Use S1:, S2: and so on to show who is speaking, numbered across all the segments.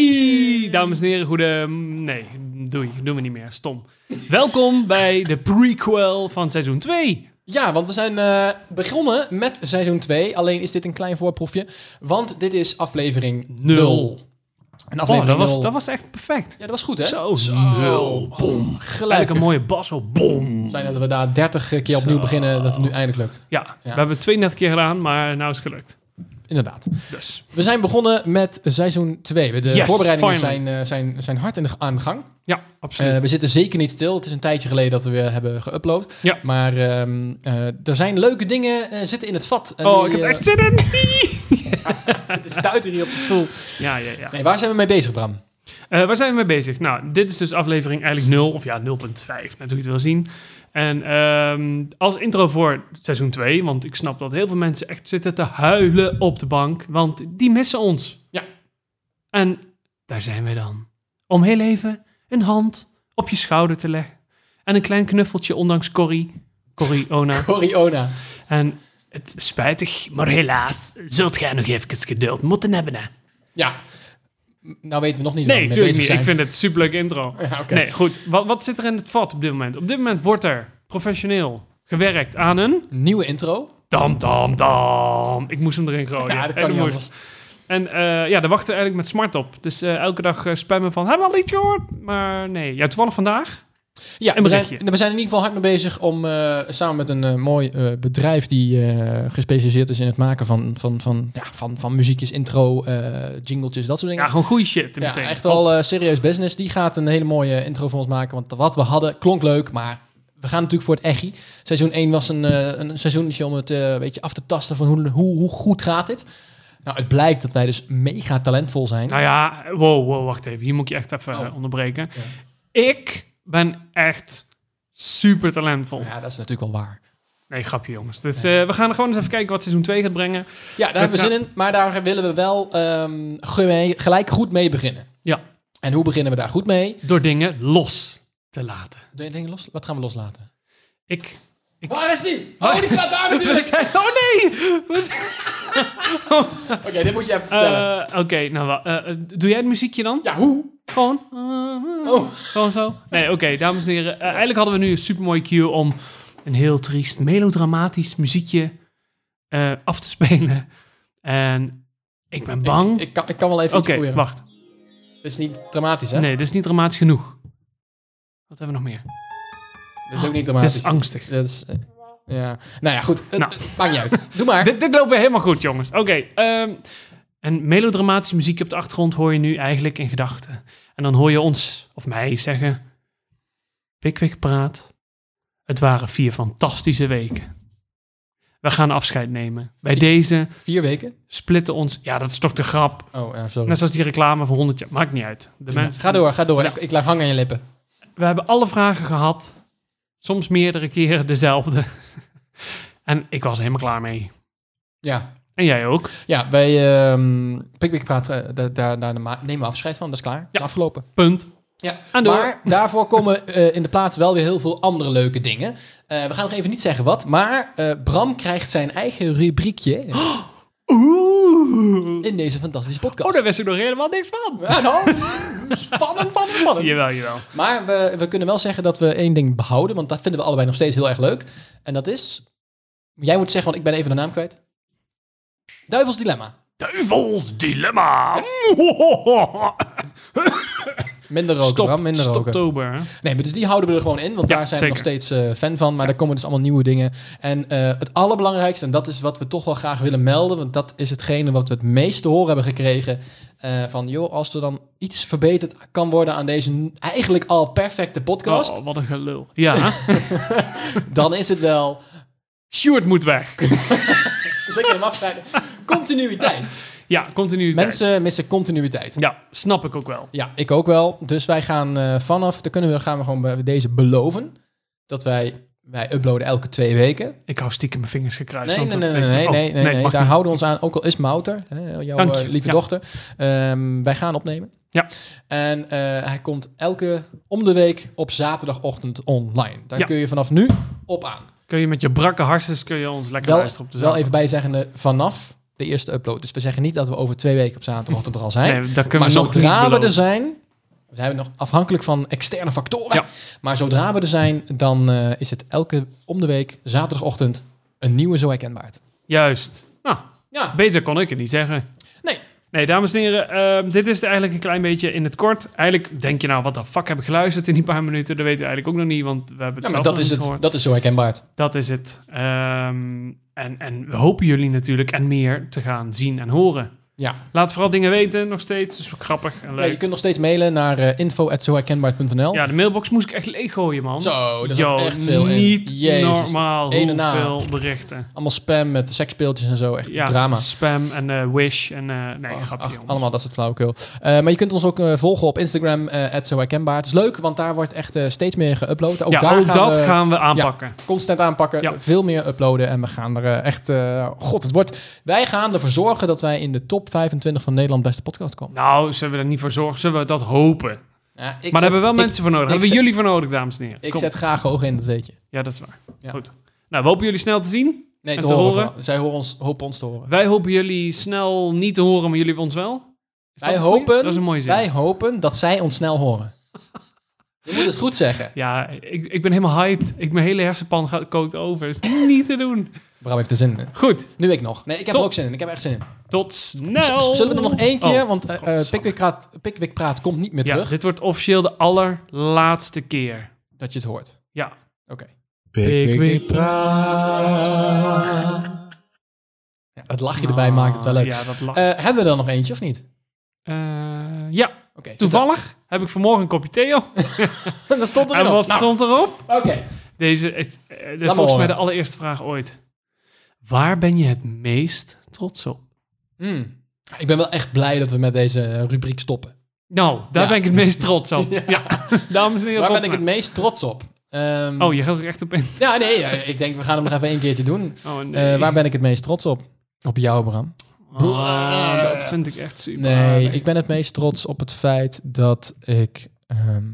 S1: Hey, dames en heren, goede... Nee, doei, doen we niet meer. Stom. Welkom bij de prequel van seizoen 2.
S2: Ja, want we zijn eh, begonnen met seizoen 2. Alleen is dit een klein voorproefje. Want dit is aflevering
S1: Oh,
S2: 0. Een
S1: dat,
S2: aflevering 0.
S1: was, dat was echt perfect.
S2: Ja, dat was goed, hè?
S1: Zo, nul.
S2: Bom.
S1: Gelijk
S2: Gelijk.
S1: een mooie bas op. Bom.
S2: Zijn dat we daar 30 keer opnieuw
S1: Zo.
S2: beginnen, dat het nu eindelijk lukt.
S1: Ja, we hebben het 32 keer gedaan, maar nou is het gelukt.
S2: Inderdaad.
S1: Dus,
S2: We zijn begonnen met seizoen 2. De
S1: Yes,
S2: voorbereidingen
S1: finally.
S2: zijn, eh, zijn, zijn hard in de, aan de gang.
S1: ja,
S2: Eh,
S1: absoluut.
S2: we zitten zeker niet stil. Het is een tijdje geleden dat we weer hebben geüpload.
S1: Ja.
S2: Maar ehm, eh, er zijn leuke dingen eh, zitten in het vat. En
S1: oh,
S2: die,
S1: ik heb
S2: eh,
S1: het echt zin in.
S2: Het stuiter hier op de stoel.
S1: Ja, ja, ja.
S2: Nee, waar zijn we mee bezig, Bram?
S1: Eh, waar zijn we mee bezig? Nou, dit is dus aflevering eigenlijk 0, of ja, 0.5, net hoe je het wil zien. En ehm, als intro voor seizoen 2, want ik snap dat heel veel mensen echt zitten te huilen op de bank, want die missen ons.
S2: Ja.
S1: En daar zijn wij dan. Om heel even een hand op je schouder te leggen. En een klein knuffeltje, ondanks Corrie. Corrie Ona.
S2: Coriona.
S1: En het is spijtig, maar helaas, zult gij nog even geduld moeten hebben. Hè?
S2: Ja. M- Nou weten we nog niet waar
S1: Nee,
S2: we mee
S1: natuurlijk
S2: bezig
S1: niet.
S2: zijn.
S1: Ik vind het een superleuk intro.
S2: Ja, oké.
S1: Nee, goed. Wat, wat zit er in het vat op dit moment? Op dit moment wordt er professioneel gewerkt aan een...
S2: Nieuwe intro.
S1: Dam, dam, dam. Ik moest hem erin gooien.
S2: Ja, dat
S1: En
S2: kan niet
S1: moest.
S2: anders.
S1: En eh, ja, daar wachten we eigenlijk met smart op. Dus eh, elke dag eh, spammen van... Hebben we al iets gehoord? Maar nee. Ja, toevallig vandaag.
S2: Ja,
S1: Een
S2: we zijn,
S1: berichtje.
S2: we zijn in ieder geval hard mee bezig om eh, samen met een eh, mooi eh, bedrijf die eh, gespecialiseerd is in het maken van, van, van, ja, van, van muziekjes, intro, eh jingletjes, dat soort dingen.
S1: Ja, gewoon goede shit.
S2: Ja,
S1: meteen. Oh,
S2: echt wel eh, serieus business. Die gaat een hele mooie intro voor ons maken. Want wat we hadden klonk leuk, maar we gaan natuurlijk voor het echi. Seizoen 1 was een, eh een seizoentje om het eh, een beetje af te tasten van hoe, hoe, hoe goed gaat dit. Nou, het blijkt dat wij dus mega talentvol zijn.
S1: Nou ja, wow, wow, wacht even. Hier moet ik je echt even
S2: Oh.
S1: eh, onderbreken. Ik ben echt super talentvol.
S2: Ja, dat is natuurlijk wel waar.
S1: Nee, grapje jongens. Dus eh, we gaan gewoon eens even kijken wat seizoen 2 gaat brengen.
S2: Ja, daar hebben we
S1: Ja.
S2: zin in. Maar daar willen we wel ehm, ge- gelijk goed mee beginnen.
S1: Ja.
S2: En hoe beginnen we daar goed mee?
S1: Door dingen los te laten.
S2: Doe je dingen los? Wat gaan we loslaten?
S1: Ik...
S2: Waar is die? Oh, die staat daar natuurlijk.
S1: Oh nee! We zijn-
S2: Oké, dit moet je even vertellen.
S1: Eh, Oké, nou wel. Eh, eh, doe jij het muziekje dan?
S2: ja, hoe?
S1: Gewoon. eh, eh,
S2: Oh.
S1: Zo zo. Nee, oké, dames en heren. Eh, eigenlijk hadden we nu een supermooie cue om een heel triest, melodramatisch muziekje eh, af te spelen. En ik ben bang.
S2: Ik kan, ik kan wel even iets
S1: Oké,
S2: proberen.
S1: wacht.
S2: Dit is niet dramatisch, hè?
S1: Nee, dit is niet dramatisch genoeg. Wat hebben we nog meer?
S2: Dit is ook niet
S1: Dit
S2: dramatisch.
S1: is angstig.
S2: Dat is, eh, ja. Nou ja, goed. Het-
S1: Nou.
S2: het Maakt niet uit. Doe maar.
S1: Dit, dit loopt weer helemaal goed, jongens. Oké. ehm, en melodramatische muziek op de achtergrond hoor je nu eigenlijk in gedachten. En dan hoor je ons, of mij, zeggen... Pikwik praat. Het waren vier fantastische weken. We gaan afscheid nemen. Bij deze
S2: Vier weken?
S1: splitten ons... Ja, dat is toch de grap.
S2: Oh, ja, sorry.
S1: Net zoals die reclame van 100 jaar. Maakt niet uit. Nou, De
S2: Prima.
S1: mensen,
S2: Ga door, ga door. Ik, ik laat hangen aan je lippen.
S1: We hebben alle vragen gehad. Soms meerdere keren dezelfde. en ik was er helemaal klaar mee.
S2: Ja,
S1: En jij ook.
S2: ja bij ehm Pikwik praat, eh, daar, daar, daar ma- nemen we afscheid van. Dat is klaar. Dat is afgelopen.
S1: Punt.
S2: Ja.
S1: Aan door.
S2: Maar daarvoor komen eh, in de plaats wel weer heel veel andere leuke dingen. Eh, we gaan nog even niet zeggen wat, maar eh, Bram krijgt zijn eigen rubriekje
S1: Oeh.
S2: in deze fantastische podcast.
S1: Oh, daar wist ik nog helemaal niks van.
S2: Ja, nou, spannend, spannend, spannend.
S1: Jawel, jawel.
S2: Maar we, we kunnen wel zeggen dat we één ding behouden, want dat vinden we allebei nog steeds heel erg leuk. En dat is, jij moet zeggen, want ik ben even de naam kwijt. Duivels Dilemma.
S1: Duivels dilemma.
S2: Minder roken,
S1: Stop,
S2: Bram, minder roken.
S1: stoptober. hè?
S2: Nee, maar dus die houden we er gewoon in, want
S1: Ja,
S2: daar zijn we nog
S1: zeker.
S2: steeds eh, fan van. Maar daar komen dus allemaal nieuwe dingen. En eh, het allerbelangrijkste, en dat is wat we toch wel graag willen melden, want dat is hetgene wat we het meest te horen hebben gekregen. eh, van, joh, als er dan iets verbeterd kan worden aan deze n- eigenlijk al perfecte podcast,
S1: Oh, wat een gelul. Ja,
S2: dan is het wel...
S1: Stuart moet weg.
S2: Dus ik neem afscheid. Continuïteit.
S1: Ja, continuïteit.
S2: Mensen missen continuïteit.
S1: Ja, snap ik ook wel.
S2: Ja, ik ook wel. Dus wij gaan eh, vanaf, daar kunnen we, gaan we gewoon bij deze beloven. Dat wij, wij uploaden elke twee weken.
S1: Ik hou stiekem mijn vingers gekruist.
S2: Nee,
S1: want
S2: nee,
S1: dat
S2: nee, nee,
S1: weet-
S2: nee,
S1: oh,
S2: nee, nee, nee.
S1: mag
S2: Daar
S1: niet.
S2: houden we ons aan, ook al is Mouter, hè, jouw
S1: Dank je.
S2: eh, lieve
S1: Ja.
S2: dochter. Ehm, wij gaan opnemen.
S1: Ja.
S2: En eh, hij komt elke, om de week, op zaterdagochtend online. Daar
S1: Ja.
S2: kun je vanaf nu op aan.
S1: Kun je met je brakke harses kun je ons lekker
S2: Wel,
S1: luisteren op de
S2: wel
S1: zaal.
S2: even bijzeggende, vanaf de eerste upload. Dus we zeggen niet dat we over twee weken op zaterdagochtend er al zijn.
S1: Nee, dat kunnen
S2: maar
S1: we nog niet
S2: zodra we dus-
S1: beloven.
S2: er zijn, we zijn nog afhankelijk van externe factoren.
S1: Ja.
S2: Maar zodra we er zijn, dan eh, is het elke om de week zaterdagochtend een nieuwe zo herkenbaar.
S1: Juist. Nou,
S2: Ja,
S1: beter kon ik het niet zeggen.
S2: Nee.
S1: Nee, dames en heren, ehm, dit is het eigenlijk een klein beetje in het kort. Eigenlijk denk je nou, wat de fuck heb ik geluisterd in die paar minuten? Dat weten we eigenlijk ook nog niet, want we hebben het
S2: ja
S1: zelf
S2: maar dat
S1: nog
S2: is
S1: niet
S2: het.
S1: gehoord.
S2: Dat is zo herkenbaar.
S1: Dat is het. Ehm, en, en we hopen jullie natuurlijk en meer te gaan zien en horen.
S2: Ja.
S1: Laat vooral dingen weten nog steeds. Dat is grappig en
S2: Ja,
S1: leuk.
S2: je kunt nog steeds mailen naar eh info@zoherkenbaar.nl.
S1: Ja, de mailbox moest ik echt leeggooien, man.
S2: Zo, dat
S1: Yo,
S2: is echt veel. in.
S1: niet
S2: Jezus.
S1: normaal
S2: Ene na.
S1: hoeveel berichten.
S2: Allemaal spam met sekspeeltjes en zo. Echt
S1: Ja,
S2: drama.
S1: spam en eh, wish en... eh, nee,
S2: Ach,
S1: grapje,
S2: ach,
S1: jongen.
S2: allemaal dat soort flauwekul. Eh, maar je kunt ons ook eh, volgen op Instagram, eh @zoherkenbaar. Het is leuk, want daar wordt echt eh, steeds meer geüpload. Ook
S1: ja,
S2: daar
S1: ook
S2: gaan
S1: dat
S2: we
S1: gaan we aanpakken.
S2: constant aanpakken.
S1: Ja.
S2: Veel meer uploaden. En we gaan er eh, echt... eh, God, het wordt... Wij gaan ervoor zorgen dat wij in de top 25 van Nederland beste podcast komen.
S1: Nou, zullen we er niet voor zorgen? Zullen we dat hopen?
S2: Ja, ik
S1: maar daar
S2: zet-
S1: hebben we wel
S2: ik-
S1: mensen voor nodig.
S2: ik
S1: Daar hebben we
S2: zet-
S1: jullie voor nodig, dames en heren.
S2: Ik
S1: Kom.
S2: zet graag hoog in, dat weet je.
S1: Ja, dat is waar.
S2: Ja.
S1: Goed. Nou, we hopen jullie snel te zien.
S2: Nee,
S1: En
S2: te,
S1: te
S2: horen.
S1: horen?
S2: vooral. Zij horen ons, hopen ons te horen.
S1: Wij hopen jullie snel niet te horen, maar jullie hebben ons wel. Is
S2: Wij
S1: dat een goeie?
S2: hopen-
S1: Dat is een mooie zin.
S2: Wij hopen dat zij ons snel horen. Je moet het goed zeggen.
S1: Ja, ik, ik ben helemaal hyped. Ik, mijn hele hersenpan gaat, kookt over. Het is niet te doen.
S2: Bram heeft er zin in.
S1: Goed,
S2: Nu ik nog. Nee, ik heb
S1: Top.
S2: er ook zin in. Ik heb er echt zin in.
S1: tot snel.
S2: Z- Zullen we er nog één keer?
S1: Oh,
S2: want eh, eh,
S1: godsamme.
S2: Pickwick, praat, Pickwick Praat komt niet meer
S1: ja,
S2: terug.
S1: dit wordt officieel de allerlaatste keer.
S2: Dat je het hoort.
S1: Ja.
S2: Oké.
S1: Pickwick
S3: praat.
S2: Ja, het lachje erbij maakt het wel leuk.
S1: Ah, Ja, dat lacht.
S2: Eh, hebben we er nog eentje of niet?
S1: Eh, ja,
S2: Oké.
S1: toevallig heb ik vanmorgen een kopje thee op.
S2: Dat, dat stond er
S1: En
S2: nog.
S1: wat
S2: Nou,
S1: stond erop?
S2: Oké.
S1: Deze, het, eh, dit is
S2: maar
S1: volgens mij
S2: horen.
S1: de allereerste vraag ooit. Waar ben je het meest trots op?
S2: Hmm. Ik ben wel echt blij dat we met deze rubriek stoppen.
S1: Nou, daar
S2: Ja.
S1: ben ik het meest trots op. ja. dames en heren,
S2: Waar ben
S1: trots
S2: ik het
S1: op.
S2: meest trots op? Ehm,
S1: Oh, je gaat er echt op in.
S2: Ja, nee. ja, ik denk, we gaan hem nog even één keertje doen.
S1: Oh, nee.
S2: Eh, waar ben ik het meest trots op? Op jou, Bram.
S1: Ah, dat vind ik echt super. Ah,
S2: Nee,
S1: aardig.
S2: ik ben het meest trots op het feit dat ik... ehm,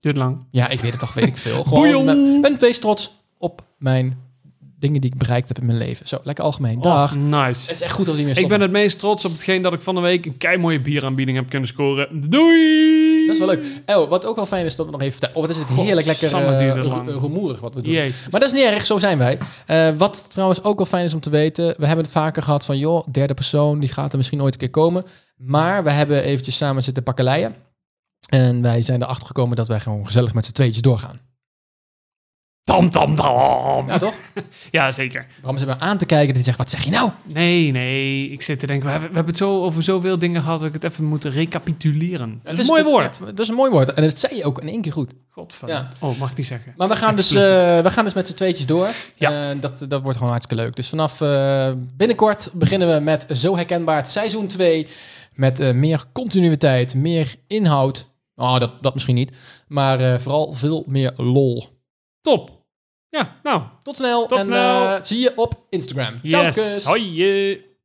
S1: Duurt lang.
S2: ja, ik weet het toch, weet ik veel.
S1: Boejoe!
S2: Gewoon, ben, ben het meest trots op mijn dingen die ik bereikt heb in mijn leven. Zo, lekker algemeen. Dag.
S1: Oh, nice.
S2: Het is echt goed als hij meer
S1: Ik
S2: stopt.
S1: ben het meest trots op hetgeen dat ik van de week een kei mooie bieraanbieding heb kunnen scoren. Doei!
S2: Dat is wel leuk. Oh, wat ook wel fijn is dat we nog even vertellen. Oh, wat is het heerlijk lekker
S1: Godsamme,
S2: eh,
S1: duurt het
S2: ro-
S1: lang.
S2: rumoerig wat we doen.
S1: Jezus.
S2: Maar dat is niet erg, zo zijn wij. Eh, wat trouwens ook wel fijn is om te weten, we hebben het vaker gehad van, joh, derde persoon, die gaat er misschien ooit een keer komen. Maar we hebben eventjes samen zitten bakkeleien. En wij zijn erachter gekomen dat wij gewoon gezellig met z'n tweetjes doorgaan.
S1: Tam, tam, tam.
S2: Ja, toch?
S1: Ja, zeker.
S2: Bram zit me aan te kijken en die zegt, wat zeg je nou?
S1: Nee, nee. Ik zit te denken, we hebben, we hebben het zo over zoveel dingen gehad dat ik het even moet recapituleren. dat is een mooi woord.
S2: Dat is een mooi woord. En dat zei je ook in één keer goed.
S1: Godver.
S2: Ja.
S1: Oh, mag ik niet zeggen.
S2: Maar we gaan, dus, eh, we gaan dus met z'n tweetjes door.
S1: Ja.
S2: Eh, dat, dat wordt gewoon hartstikke leuk. Dus vanaf eh, binnenkort beginnen we met Zo Herkenbaar het seizoen 2. Met eh, meer continuïteit, meer inhoud. Oh, dat, dat misschien niet. Maar eh, vooral veel meer lol.
S1: Top. Ja, nou.
S2: Tot snel.
S1: Tot
S2: en
S1: snel.
S2: eh, zie je op Instagram. Ciao,
S1: Yes.
S2: kus.
S1: Hoi. eh.